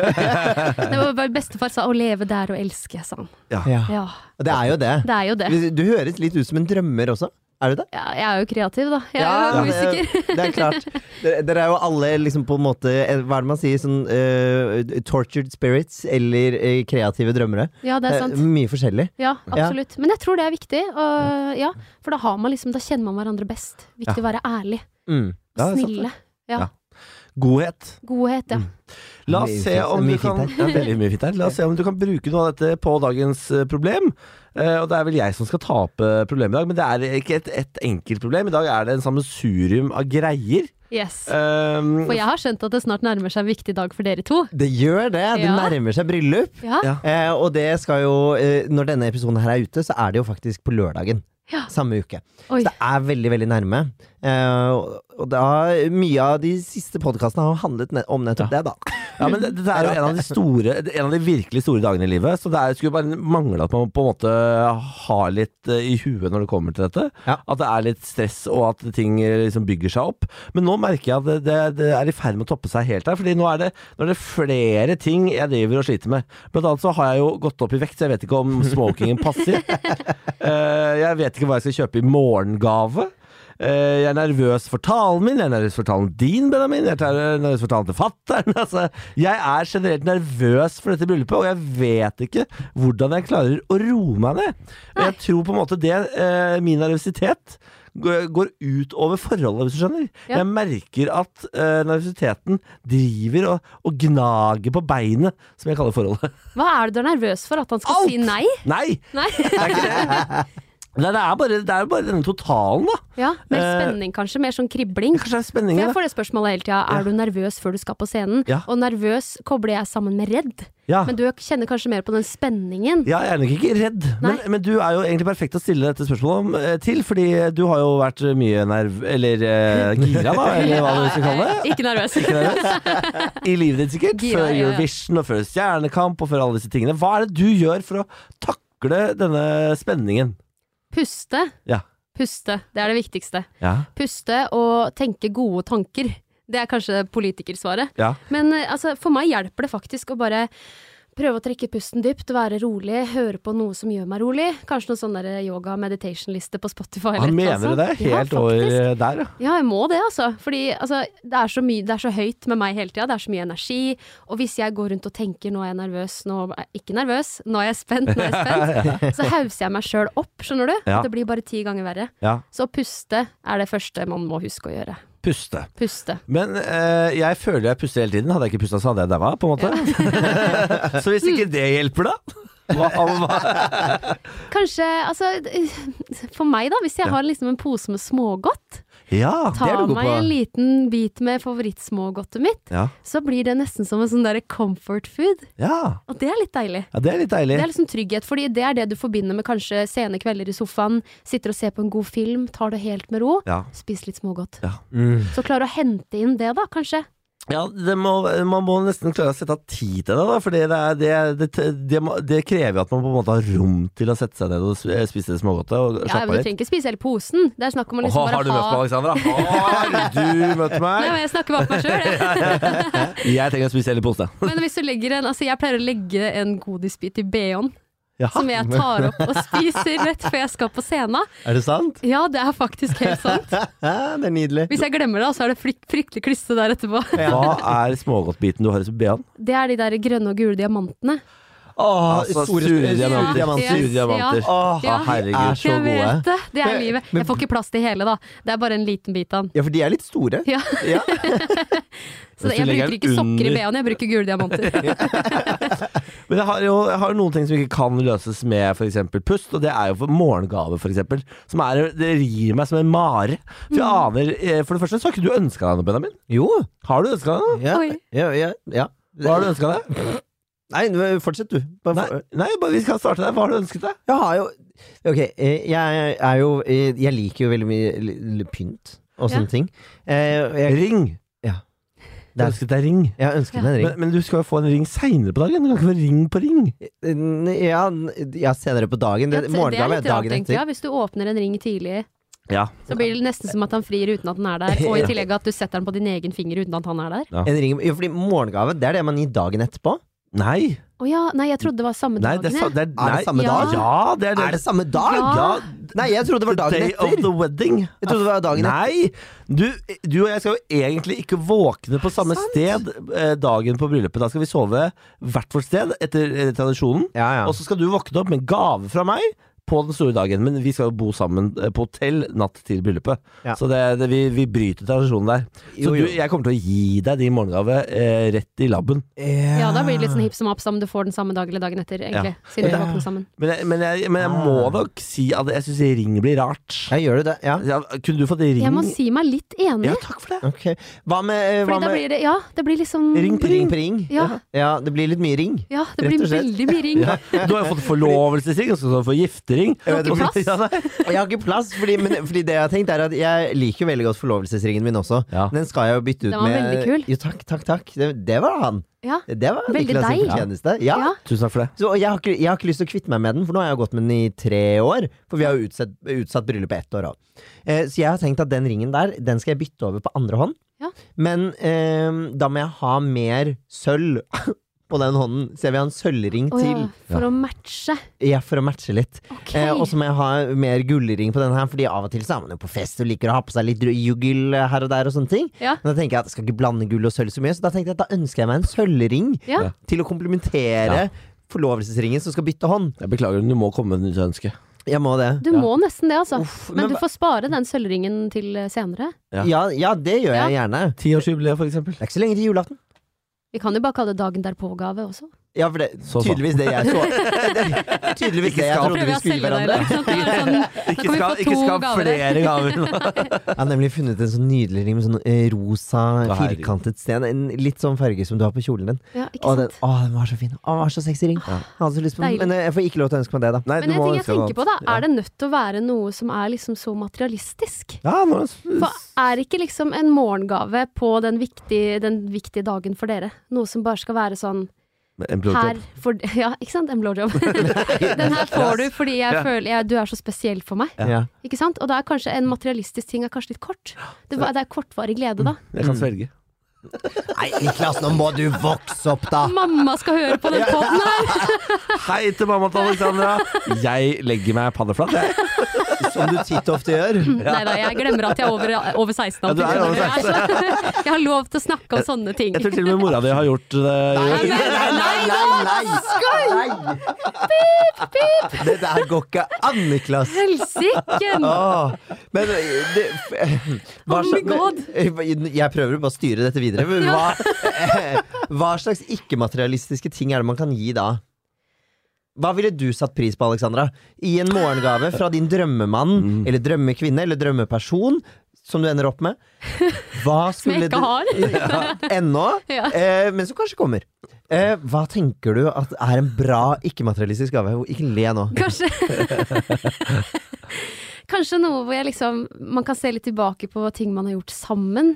var bare bestefar sa 'å leve der og elske', sa han.
Ja.
Ja,
Og Det er jo det.
det er jo det.
Du høres litt ut som en drømmer også. Er Er du det?
Ja, jeg er jo kreativ, da. Jeg er
Ja,
jo musiker.
Det, det er klart. Dere, dere er jo alle liksom på en måte eh, Hva er det man sier? Sånn eh, tortured spirits eller eh, kreative drømmere.
Ja, det er
Eh,
sant.
mye forskjellig.
Ja, absolutt. Men jeg tror det er viktig. Og, ja, for da har man liksom Da kjenner man hverandre best. Viktig å være ærlig.
Mm.
Ja, det er sant,
Snille.
Ja.
Ja.
Godhet.
Godhet, ja.
La
Mye
oss se
fint-
om
mye
du
fint
kan
her.
ja, Veldig mye fint her. La oss se om du kan bruke noe av dette på dagens eh, problem. Eh, og det er vel jeg som skal ta opp eh, problemet i dag, men det er ikke et, et enkelt problem. I dag er det en sammensurium av greier.
Yes.
Um,
For jeg har skjønt at det snart nærmer seg en viktig dag for dere to.
Det gjør det. Det
Ja.
nærmer seg bryllup.
Ja,
Ja.
Eh, og det skal jo eh, Når denne episoden her er ute, så er det jo faktisk på lørdagen.
Ja.
Samme uke.
Oi.
Så det er veldig, veldig nærme. Eh, og- og da Mye av de siste podkastene har jo handlet ne om nettopp det, da.
Ja, men det, det er jo en av de store En av de virkelig store dagene i livet, så det er, skulle bare mangle at man på en måte har litt eh, i huet når det kommer til dette.
Ja.
At det er litt stress, og at ting eh, liksom bygger seg opp. Men nå merker jeg at det, det, det er i ferd med å toppe seg helt her, Fordi nå er det, nå er det flere ting jeg driver og sliter med. Blant annet så har jeg jo gått opp i vekt, så jeg vet ikke om smokingen passer. Eh, jeg vet ikke hva jeg skal kjøpe i morgengave. Eh, jeg er nervøs for talen min, jeg er nervøs for talen din, Benjamin. Jeg er nervøs for talen til fatter'n. Altså, jeg er generelt nervøs for dette bryllupet, og jeg vet ikke hvordan jeg klarer å roe meg ned. Og jeg tror på en måte det, eh, min nervøsitet, g- går ut over forholdet, hvis du skjønner.
Ja.
Jeg merker at eh, nervøsiteten driver og, og gnager på beinet, som jeg kaller forholdet.
Hva er det du er nervøs for? At han skal
Alt!
si nei?
Nei!
Nei.
Nei, det er bare, det er bare denne totalen, da.
Ja, Mer
Eh,
spenning, kanskje. Mer sånn kribling.
Kanskje det er
For
spenningen,
jeg
da.
får det spørsmålet hele tida. Er du nervøs før du skal på scenen?
Ja.
Og nervøs kobler jeg sammen med redd.
Ja.
Men du kjenner kanskje mer på den spenningen.
Ja, jeg er nok ikke redd, men, men du er jo egentlig perfekt å stille dette spørsmålet om, eh, til, fordi du har jo vært mye nerv... Eller eh, gira, da, eller hva du skal kalle det.
Eh, Ikke nervøs.
Ikke nervøs? I livet ditt, sikkert. før
Gira, ja, ja.
Eurovision og før Stjernekamp og før alle disse tingene. Hva er det du gjør for å takle denne spenningen?
Puste.
Ja.
Puste. Det er det viktigste.
Ja.
Puste og tenke gode tanker. Det er kanskje politikersvaret.
ja.
Men eh, altså, for meg hjelper det faktisk å bare prøve å trekke pusten dypt, være rolig, høre på noe som gjør meg rolig. Kanskje noen sånn der yoga meditation-liste på Spotify.
Han
eller et eller
Ah, mener
annet
det helt
sånt. sånn ja,
over
faktisk.
eh, der, ja.
Ja, jeg må det, altså. Fordi altså, det, er så mye, det er så høyt med meg hele tida. Det er så mye energi. Og hvis jeg går rundt og tenker 'nå er jeg nervøs', 'nå er jeg ikke nervøs', 'nå er jeg spent', 'nå er jeg spent', så hauser jeg meg sjøl opp, skjønner du.
Ja.
Det blir bare ti ganger verre.
ja.
Så å puste er det første man må huske å gjøre.
Puste.
Puste.
Men eh, jeg føler jeg puster hele tiden. Hadde jeg ikke pusta, så hadde jeg daua, på en måte. så hvis ikke det hjelper, da? Hva, hva?
Kanskje, altså For meg, da. Hvis jeg har liksom en pose med smågodt,
Ja, det er
ta
du god
meg
på.
en liten bit med favorittsmågodtet mitt,
Ja.
så blir det nesten som en sånn derre comfort food.
Ja.
Og det er litt deilig.
ja, det er litt deilig.
Det er liksom trygghet, fordi det er det du forbinder med kanskje sene kvelder i sofaen, sitter og ser på en god film, tar det helt med ro,
Ja.
spis litt smågodt.
Ja.
Så klare å hente inn det, da, kanskje.
Ja, det må, man må nesten klare å sette av tid til det, da, for det, er- det, det, det, må- det krever jo at man på en måte har rom til å sette seg ned og sp- spise det smågodtet og slappe
Ja,
av
men du
litt.
trenger ikke spise hele posen. Det er snakk om å liksom
Åh, har du
bare
møtt meg,
ha
Alexandra? Har du møtt
Nei,
meg?
men Jeg snakker bare for meg sjøl, jeg.
Jeg trenger å spise hele posen.
Men hvis du legger en Altså, jeg pleier å legge en godisbit i BH-en.
Ja.
Som jeg tar opp og spiser rett før jeg skal på scenen.
Er det sant?
Ja, det er faktisk helt sant.
Ja, det er nydelig.
Hvis jeg glemmer det, så er det frykt, fryktelig klisse der etterpå.
Hva er smågodtbiten du har i BH-en?
Det er de der grønne og gule diamantene.
Altså,
Åh, Ah, store,
sure
store
diamanter.
diamanter.
Sure
Yes,
diamanter.
Åh,
Ja.
herregud.
de er så
jeg
gode.
vet det! Det er
Men-
livet.
men-
Jeg får ikke plass til hele, da. Det er bare en liten bit av den.
Ja, for de er litt store.
Ja,
Ja.
så
Hvis du
det, jeg
legger
bruker
den
ikke sokker i
under-
BH-en, jeg bruker gule diamanter.
Men jeg har jo jeg har jo noen ting som ikke kan løses med f.eks. pust, og det er jo for morgengave, f.eks. Som er, det rir meg som en mare. For jeg aner eh, For det første så har ikke du ønska deg noe, Benjamin.
Jo.
Har du ønska deg noe?
Ja.
Oi.
Ja, ja, ja.
Hva har du ønska deg?
Nei, nå- fortsett du. Bare
Nei,
for-
nei bare, vi skal starte der. Hva har du ønsket deg?
Jeg har jo Ok, eh, jeg er jo eh, Jeg liker jo veldig mye l- l- pynt og
Ja.
sånne ting. Eh, og Jeg,
Ring.
Ja.
Du har ønsket deg ring.
jeg har ønsket
Ja.
meg en ring.
Men, men du skal jo få en ring seinere på dagen. Du kan ikke få ring på ring.
N- Ja, n- ja, senere på dagen.
Ja,
Det,
det er
morgengave er
litt rart,
dagen
egentlig.
etter.
Ja, hvis du åpner en ring tidlig,
Ja.
så blir det nesten som at han frir uten at den er der. Og i tillegg at du setter den på din egen finger uten at han er der.
En ring, jo, fordi morgengave, det er det man gir dagen etterpå.
Nei.
Å ja, nei, jeg trodde det var samme
Nei,
dagen.
det er, sa-
jeg.
det er,
Er det
nei.
samme
dag?
Ja, det er det.
Er det samme dag?
Ja.
Nei, jeg trodde det var dagen
Day of
etter.
the wedding.
Jeg trodde det var dagen etter.
Nei! Du, du og jeg skal jo egentlig ikke våkne på samme sted eh, dagen på bryllupet. Da skal vi sove hvert vårt sted, etter eh, tradisjonen.
Ja, ja.
Og så skal du våkne opp med en gave fra meg på den store dagen. Men vi skal jo bo sammen eh, på hotell natt til bryllupet.
Ja.
Så det, det, vi, vi bryter tradisjonen der. Så
Jo, jo.
Du, jeg kommer til å gi deg din morgengave eh, rett i laben.
Ja, da blir det litt sånn hipp som happ som du får den samme dag eller dagen etter, egentlig. Siden vi
Ja.
våkner sammen.
Men jeg, men jeg, men jeg
Ah.
må nok si at jeg syns ring blir rart.
Ja, gjør du det? Ja.
Ja, kunne du fått ring?
Jeg må si meg litt enig,
Ja, takk for det.
Ok. Hva med, eh, hva
fordi da
med
blir det Ja, det blir liksom
Ring på
ring på ring?
Ja.
ja, det blir litt mye ring.
Ja, det
Rett
blir
og slett.
veldig mye ring.
Du har jo fått forlovelsesring, og så skal du få giftering.
Du har ikke
Ja,
plass.
nei.
Og Jeg har ikke plass, fordi, men, fordi det jeg har tenkt er at jeg liker jo veldig godt forlovelsesringen min også.
Ja.
Den skal jeg jo bytte ut
Den var
med
veldig kul.
Jo, takk, takk, takk. Det, det var han.
Ja.
Det var
Veldig
Niklas' sin
deg.
fortjeneste. Ja.
Ja.
Tusen takk for det.
Så, og jeg har, ikke, jeg har ikke lyst til å kvitte meg med den, for nå har jeg gått med den i tre år. For vi har jo utsatt, utsatt bryllupet ett år òg. Eh, så jeg har tenkt at den ringen der, den skal jeg bytte over på andre hånd.
Ja.
Men eh, da må jeg ha mer sølv på den hånden, så jeg vil ha en sølvring
Å ja,
til.
for å matche.
Ja, for å matche litt.
Ok.
Eh, og så må jeg ha mer gullring på denne her, Fordi av og til så er man jo på fest og liker å ha på seg litt juggel her og der. og sånne ting
Ja.
Men da tenker jeg at jeg skal ikke blande gull og sølv så mye, så da tenkte jeg at da ønsker jeg meg en sølvring
Ja.
til å komplementere forlovelsesringen som skal bytte hånd.
Jeg beklager, men du må komme med et nytt ønske.
Jeg må det.
Du må nesten det, altså.
Uff,
Men
men
du
hva-
får spare den sølvringen til eh, senere.
Ja.
Ja, ja, det gjør jeg gjerne.
Tiårsjubileet, for eksempel.
Det er ikke så lenge til julaften.
Vi kan jo bare kalle det dagen derpå-gave også.
Ja, for det
Så sant.
tydeligvis det jeg så. Det, tydeligvis det jeg
skal
trodde vi skulle gi hverandre.
Da kan vi få to gaver.
flere gaver.
Jeg har nemlig funnet en sånn nydelig ring med sånn eh, rosa,
Å, herregud.
firkantet sten. En litt sånn farge som du har på kjolen din.
Ja, ikke
Å, den,
sant? Ah,
å, den var så fin. Å, den var så sexy ring. Jeg hadde så lyst på den,
Deilig.
men eh, jeg får ikke lov til å ønske meg det, da.
Nei,
Men en ting jeg tenker på da, er det nødt til å være noe som er liksom så materialistisk?
Ja, nå
For er ikke liksom en morgengave på den viktige, den viktige dagen for dere noe som bare skal være sånn
En
her
blowjob.
for, Ja, ikke sant? En blowjob. den her får du fordi jeg
Ja.
føler jeg, du er så spesiell for meg.
Ja.
Ikke sant? Og da er kanskje en materialistisk ting er kanskje litt kort. Det, var- det er kortvarig glede, da.
Jeg kan svelge.
Nei, Niklas, nå må du vokse opp, da!
Mamma skal høre på den poden her!
Hei til mamma til Alexandra! Jeg legger meg panneflat, jeg.
Som du titt og ofte gjør.
Nei da, jeg glemmer at jeg er over, over 16
Ja,
år.
du er over
Jeg så- Jeg har lov til å snakke om sånne ting.
Jeg tror til og med mora di har gjort det.
Nei, men-
nei! nei. Det der går ikke an, Niklas.
Helsiken!
Åh, men eh, det, f- hva
Oh my
slags-
God.
eh, Jeg prøver å bare å styre dette videre. Men hva, eh, hva slags ikke-materialistiske ting er det man kan gi da? Hva ville du satt pris på, Alexandra? I en morgengave fra din drømmemann eller drømmekvinne eller drømmeperson, som du ender opp med. Hva
Som
skulle
jeg ikke har.
du Ja, Ennå,
Ja.
eh, men som kanskje kommer. Eh, hva tenker du at er en bra ikke-materialistisk gave? Ikke le nå.
Kanskje Kanskje noe hvor jeg liksom man kan se litt tilbake på ting man har gjort sammen.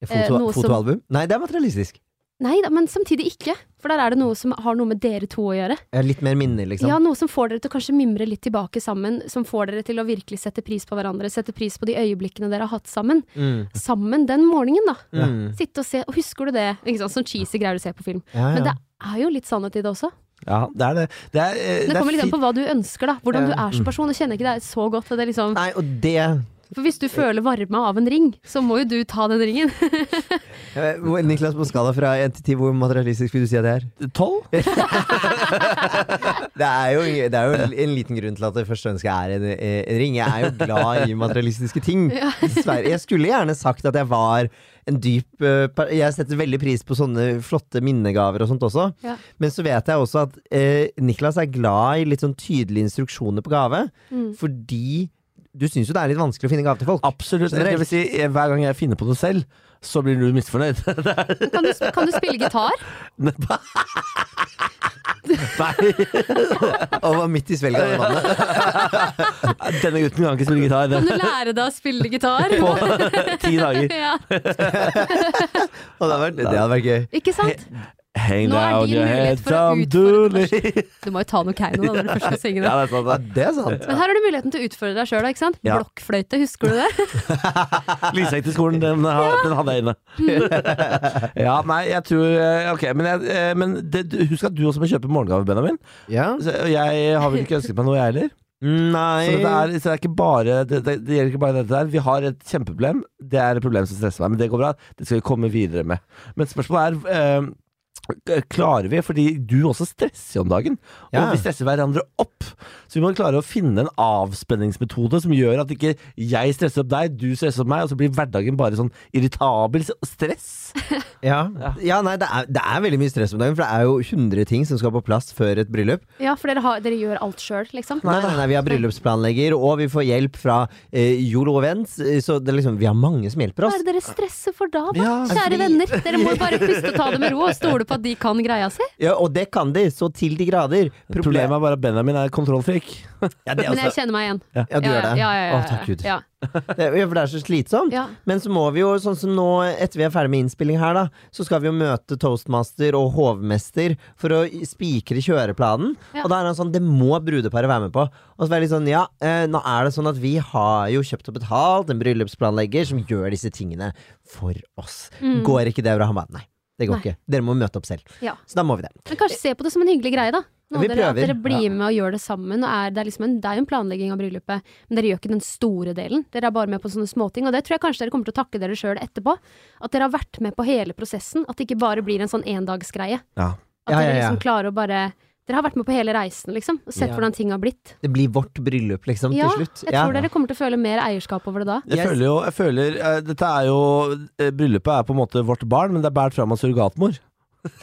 Eh,
Foto,
noe som-
fotoalbum? Nei, det er materialistisk.
Nei da, men samtidig ikke. For der er det noe som har noe med dere to å gjøre.
Eh, Litt mer minner, liksom.
Ja, Noe som får dere til å kanskje mimre litt tilbake sammen. Som får dere til å virkelig sette pris på hverandre. Sette pris på de øyeblikkene dere har hatt sammen.
Mm.
Sammen den morgenen, da.
Mm.
Sitte og se. Og husker du det? Ikke sant? Sånn cheesy greier du ser på film.
Ja,
Men
ja.
det er jo litt sannhet i det også.
Ja, det er det. Det er, eh,
Det,
det er
kommer litt an
fint.
på hva du ønsker, da. Hvordan du er som person. Jeg kjenner ikke deg så godt. og Det er liksom,
Nei, og det
for hvis du føler varme av en ring, så må jo du ta den ringen.
Eh, hvor- Niklas, på skala fra 1 til 10, hvor materialistisk vil du si at det er?
Tolv?
Det er jo, det er jo en liten grunn til at det første ønsket er en, eh, en ring. Jeg er jo glad i materialistiske ting. Dessverre. Jeg skulle gjerne sagt at jeg var en dyp eh, per- Jeg setter veldig pris på sånne flotte minnegaver og sånt også.
Ja.
Men så vet jeg også at eh, Niklas er glad i litt sånn tydelige instruksjoner på gave.
Mm.
Fordi du syns jo det er litt vanskelig å finne gave til folk.
Absolutt. Det vil si, eh, hver gang jeg finner på noe selv, så blir du misfornøyd.
Kan du, kan du spille gitar?
Nei,
Og var midt i svelget av det vannet.
denne gutten kan ikke spille gitar.
Kan du lære deg å spille gitar?
på ti dager.
Ja,
Og det, hadde vært, det hadde vært gøy.
ikke sant?
Hang
Nå er
down
din
your
mulighet
head,
for å
Tom
utfordre
Dooley.
Du må jo ta noe Keiino da, når du først skal synge det.
Ja, det er sant, det.
Det er sant.
Men her har du muligheten til å utfordre deg sjøl, ikke sant?
Ja.
Blokkfløyte, husker du det?
Lysheim til skolen, den, har, den hadde jeg inne. ja, nei, jeg tror eh, Ok, men, jeg, eh, men det, du- husk at du også må kjøpe morgengave, Benjamin.
Ja.
Så Jeg har vel ikke ønsket meg noe, jeg heller.
Nei
Så, dette er, så det, er ikke bare, det, det, det gjelder ikke bare dette der. Vi har et kjempeproblem. Det er et problem som stresser meg, men det går bra. Det skal vi komme videre med. Men spørsmålet er eh, k- Klarer vi? Fordi du også stresser jo om dagen. Og
Ja.
vi stresser hverandre opp. Så vi må klare å finne en avspenningsmetode som gjør at ikke jeg stresser opp deg, du stresser opp meg, og så blir hverdagen bare sånn irritabel stress.
Ja, ja nei, det er, det er veldig mye stress om dagen, for det er jo 100 ting som skal på plass før et bryllup.
Ja, for dere, har, dere gjør alt sjøl, liksom.
Nei, nei, nei, Vi har bryllupsplanlegger, og vi får hjelp fra eh, Yolo Events, eh, så det er liksom, vi har mange som hjelper
Hva
oss.
er det dere stresser for da, da?
Ja,
Kjære venner, dere må jo bare puste og ta det med ro og stole på at de kan greia si.
Ja, og det kan de, så til de grader.
Problemet er bare at Benjamin er kontrollfrik.
ja, det er
Men jeg
også,
kjenner meg igjen.
ja, du
altså- ja,
gjør det?
Ja, ja, ja, ja.
Å, takk Gud.
Ja.
Det, ja, for det er så slitsomt.
Ja.
Men så må vi jo, sånn som nå etter vi er ferdig med innspilling her, da, så skal vi jo møte toastmaster og hovmester for å spikre kjøreplanen.
Ja.
Og da er han sånn Det må brudeparet være med på. Og så var jeg litt sånn Ja, eh, nå er det sånn at vi har jo kjøpt og betalt en bryllupsplanlegger som gjør disse tingene for oss. Går ikke det bra? Han bare nei. Det går
Mm. Nei.
ikke. Dere må møte opp selv.
Ja.
Så da må vi det.
Men kanskje se på det som en hyggelig greie, da. Nå,
Vi
dere, at
prøver.
dere blir med og gjør det sammen. Og er, det, er liksom en, det er jo en planlegging av bryllupet, men dere gjør ikke den store delen. Dere er bare med på sånne småting, og det tror jeg kanskje dere kommer til å takke dere sjøl etterpå. At dere har vært med på hele prosessen, at det ikke bare blir en sånn endagsgreie.
Ja.
At
Ja, ja,
dere
ja.
liksom klarer å bare Dere har vært med på hele reisen, liksom, og sett
Ja.
hvordan ting har blitt.
Det blir vårt bryllup, liksom,
Ja,
til
jeg
slutt.
tror dere kommer til å føle mer eierskap over det da.
Jeg
Jeg-
føler jo jeg føler, eh, Dette er jo eh, Bryllupet er på en måte vårt barn, men det er båret fram av surrogatmor.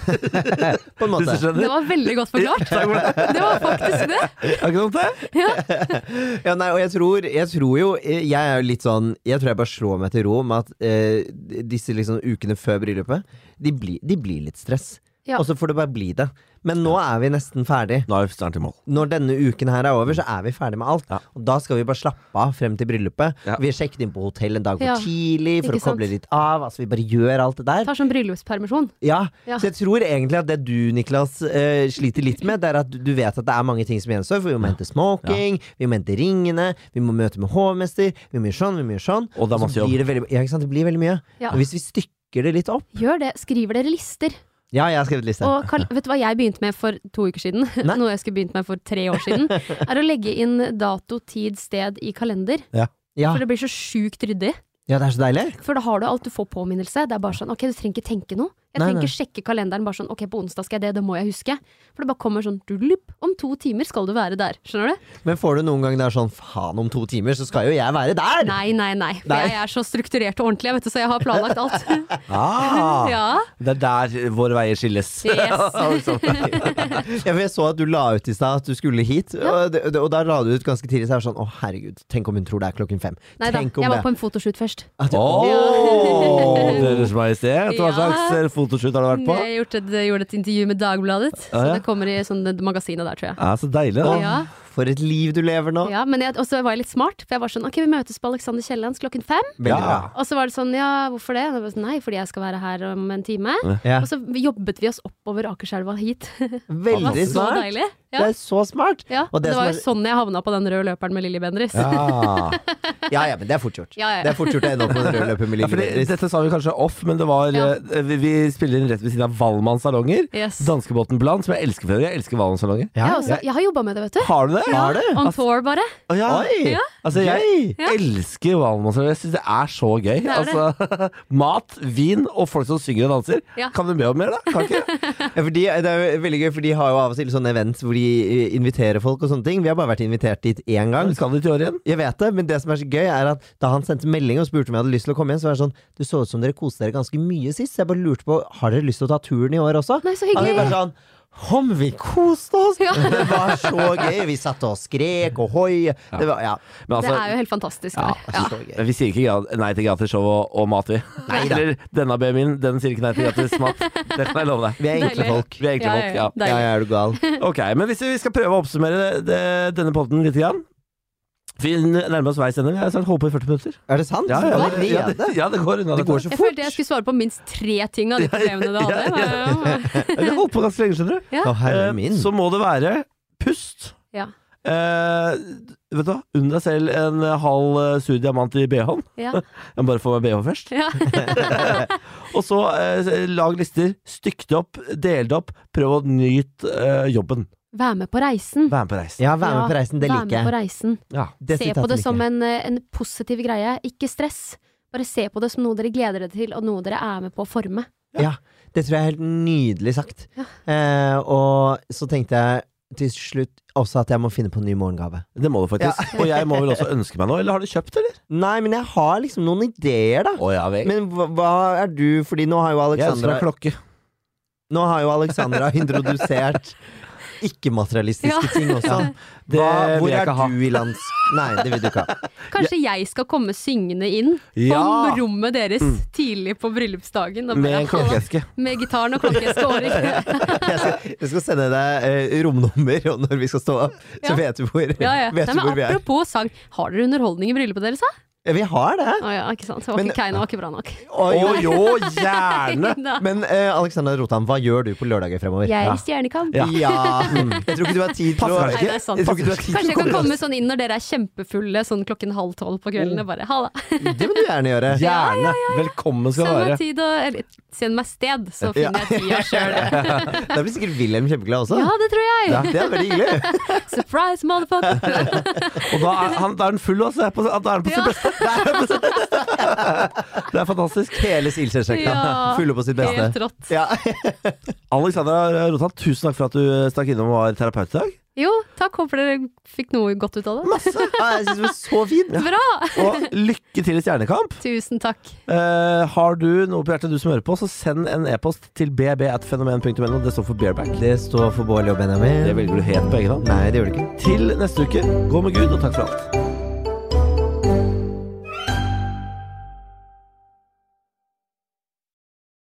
På en måte.
Hvis du skjønner?
Det var veldig godt forklart.
Takk for det.
Det var faktisk det.
Er ikke noe om det?
Ja, nei, og jeg tror, jeg tror jo Jeg er jo litt sånn Jeg tror jeg bare slår meg til ro med at eh, disse liksom ukene før bryllupet, de, blir- de blir litt stress.
Ja.
Og så får det bare bli det. Men nå er vi nesten ferdig.
Nå er vi snart i mål.
Når denne uken her er over, så er vi ferdig med alt.
Ja.
Og da skal vi bare slappe av frem til bryllupet.
Ja.
Vi har sjekket inn på hotell en dag for
Ja.
tidlig for
Ikke
å koble
sant?
litt av. Altså, vi bare gjør alt det der.
Tar sånn bryllupspermisjon.
Ja.
Ja.
Så jeg tror egentlig at det du, Niklas, eh, sliter litt med, det er at du- du vet at det er mange ting som gjenstår. For vi må hente smoking, vi må hente ringene, vi må møte med hovmester, vi må gjøre sånn, vi må gjøre sånn.
Og det er
så
masse jobb.
blir det veldig, ja, ikke sant? Det blir veldig mye.
Ja.
Og hvis vi stykker det litt opp
Gjør det. Skriver dere lister.
Ja, jeg har skrevet liste.
Og Karl, vet du hva jeg begynte med for to uker siden?
Nei.
Noe jeg skulle begynt med for tre år siden. Er å legge inn dato, tid, sted i kalender.
ja.
For det blir så sjukt ryddig.
ja, det er så deilig.
For da har du alt, du får påminnelse. Det er bare sånn, ok, du trenger ikke tenke noe. Jeg
Nei,
trenger
nei.
ikke sjekke kalenderen bare sånn, ok, på onsdag skal jeg det, det må jeg huske. For det bare kommer sånn, dulup, om to timer skal du være der. Skjønner du?
Men får du noen gang det er sånn faen, om to timer så skal jo jeg være der!
Nei, nei, nei. For
Nei.
jeg er så strukturert og ordentlig, jeg vet du, så jeg har planlagt alt.
Ah,
ja.
det er der våre veier skilles.
Yes.
Altså. Ja, for jeg så at du la ut i stad at du skulle hit, og, det, og da la du ut ganske tidlig. Så jeg var sånn å herregud, tenk om hun tror det er klokken fem.
Nei da,
tenk om
jeg var
det-
på en fotoshoot først.
At-
Åh,
Ja.
Deres Majestet, hva
Ja.
slags eh, fotoshoot har du vært på?
Jeg gjorde et, gjorde et intervju med Dagbladet, så
Ah, ja.
det kommer i sånn, det magasinet der, tror jeg.
Ja, så deilig, da.
Ja.
For et liv du lever nå.
Ja, men jeg, og så var jeg litt smart, for jeg var sånn Ok, vi møtes på Alexander Kiellands klokken fem.
Veldig
Ja.
bra.
Og så var det sånn, ja, hvorfor det? Og jeg var sånn, Nei, fordi jeg skal være her om en time.
Ja.
Og så jobbet vi oss oppover Akerselva hit. Det var
Veldig
så
smart.
deilig.
Det
Ja.
er så smart.
Ja,
og
og
det
det,
som
var
er-
jo sånn jeg havna på den røde løperen med Lilly Bendriss.
Ja.
Ja, ja, men det er fort gjort.
Ja, ja.
Det er fort gjort å ende opp på en rød løper med
Ja,
Lille
fordi,
Bendriss.
dette sa vi kanskje off, men det var
Ja.
eh, vi, vi spiller inn rett ved siden av Valmann salonger.
Yes.
Danskebåten Bland, som jeg elsker for øvrig. Jeg elsker Valmann salonger.
Jeg, har også, jeg har jobba med det, vet du.
Har du det?
Har du? Altså-
On tour, bare.
Å, ja.
Oi!
Ja.
Altså, jeg
Gøy.
elsker Valmann salonger. Jeg syns det er så gøy.
er det.
Altså, mat, vin og folk som synger og danser.
Ja.
Kan du be om mer, da? Kan ikke?
Ja, for de, det er jo veldig gøy, for de har jo av og til sånne events hvor de eh, inviterer folk og sånne ting. Vi har bare vært invitert dit én gang.
Vi skal dit i år igjen.
Jeg vet det, men det som er så gøy, er at da han sendte melding og spurte om jeg hadde lyst til å komme igjen, så var det sånn Det så ut som dere koste dere ganske mye sist, så jeg bare lurte på Har dere lyst til å ta turen i år også?
Nei, så
Han
hyggelig.
er bare sånn Om vi koste oss!
Ja.
Det var så gøy! Vi satt og skrek og hoi. Det var Ja.
Men
Det
altså,
er jo helt fantastisk.
Ja,
der. Ja.
Så gøy.
Vi sier ikke gra- nei til gratis show og, og mat, vi.
Neida.
Eller denne BMI-en, den sier ikke nei til gratis mat. Det kan jeg love deg.
Vi er enkle
Deilig.
folk.
Vi er enkle
Ja,
folk, ja.
ja,
Ja,
Deilig.
ja, er du gal?
Ok, men hvis vi skal prøve å oppsummere det, det, denne podden litt, grann. Vi nærmer oss veis ende. Vi har snart holdt på i 40 minutter.
Er det sant?
Ja, ja, det, ja,
Allerede?
det, ja, det går unna.
Det går
dette.
så
Jeg
fort.
følte jeg skulle svare på minst tre ting av de problemene du hadde. Ja,
Vi har holdt på ganske lenge, skjønner du.
Å, herre
Eh,
min.
Så må det være pust.
Ja.
Eh, vet du hva, unn deg selv en halv eh, sur diamant i BH-en.
ja,
Jeg må bare få meg BH først.
ja.
Og så eh, lag lister, stykk det opp, del det opp, prøv å nyte eh, jobben.
Vær med på reisen.
Vær med på reisen.
Ja, vær med på reisen. Det
Vær med på
liker jeg.
reisen.
Ja.
Se på det som en, eh, en positiv greie. Ikke stress. Bare se på det som noe dere gleder dere til, og noe dere er med på å forme.
Ja, det tror jeg er helt nydelig sagt. Eh, og så tenkte jeg til slutt også at jeg må finne på en ny morgengave.
Det må du faktisk. Og jeg må vel også ønske meg noe. Eller har du kjøpt, eller?
Nei, men jeg har liksom noen ideer, da.
Å, ja, vel.
Men hva, hva er du Fordi nå har jo
Jeg ønsker
Alexandra,
meg klokke.
nå har jo Alexandra introdusert
Ja.
ikke-materialistiske ting også.
Det
Hva,
vil
hvor
jeg
er
ikke ha.
du i lands... Nei, det vil du ikke ha.
Kanskje jeg skal komme syngende inn
Ja.
på rommet deres
Mm.
tidlig på bryllupsdagen. og
Med
bare,
en klokkeeske.
Med gitaren og klokkeeske over. ikke?
Jeg skal, jeg skal sende deg eh, romnummer, og når vi skal stå opp, så
Ja.
vet du hvor,
Ja, ja.
Vet
Nei,
du
men
hvor vi er.
apropos sang, har dere underholdning i bryllupet deres, da?
Ja, Vi har det.
Å ja, ikke sant. Det var
Men-
ikke Keiino, var ikke bra nok.
Å,
Å
jo,
jo, gjerne!
Da.
Men eh, Alexandra Rotan, hva gjør du på lørdager fremover? mm.
Jeg
Ja.
er i Stjernekamp.
Ja.
Jeg tror ikke du har tid til å
Passer
Nei, det er sant.
Jeg tror ikke du har tid til å
Kanskje jeg kan
komme
komme sånn inn når dere er kjempefulle sånn klokken halv tolv på kvelden. og Bare ha det.
Det må du gjerne gjøre.
Gjerne. Velkommen skal du
Samme
være.
tid og eller, Send meg sted, så finner jeg tida sjøl.
Da blir sikkert Wilhelm kjempeglad også.
Ja, det tror
Ja,
jeg!
det er veldig hyggelig.
Surprise, motherfucker!
Og da er han, da er han full, altså. Da er han på sitt
Ja.
beste. Da er han på sitt beste. Det er fantastisk.
Hele Silsjøsekta.
Ja.
Fulle på sitt
Helt
beste.
rått.
Ja.
Alexandra Rotan, tusen takk for at du eh, stakk innom og var terapeut i dag.
Jo, takk. Håper dere fikk noe godt ut av det.
Masse. Ja, jeg syns det var så fint.
Bra!
Og lykke til i Stjernekamp.
Tusen takk.
Eh, har du noe på hjertet du som hører på, så send en e-post til bb.fenomen.no. Det står for Bearback.
Det står for Bårli og
Det
Benjamin.
velger du helt på egen hånd.
Nei, det gjør det ikke.
Til neste uke, gå med Gud, og takk for alt.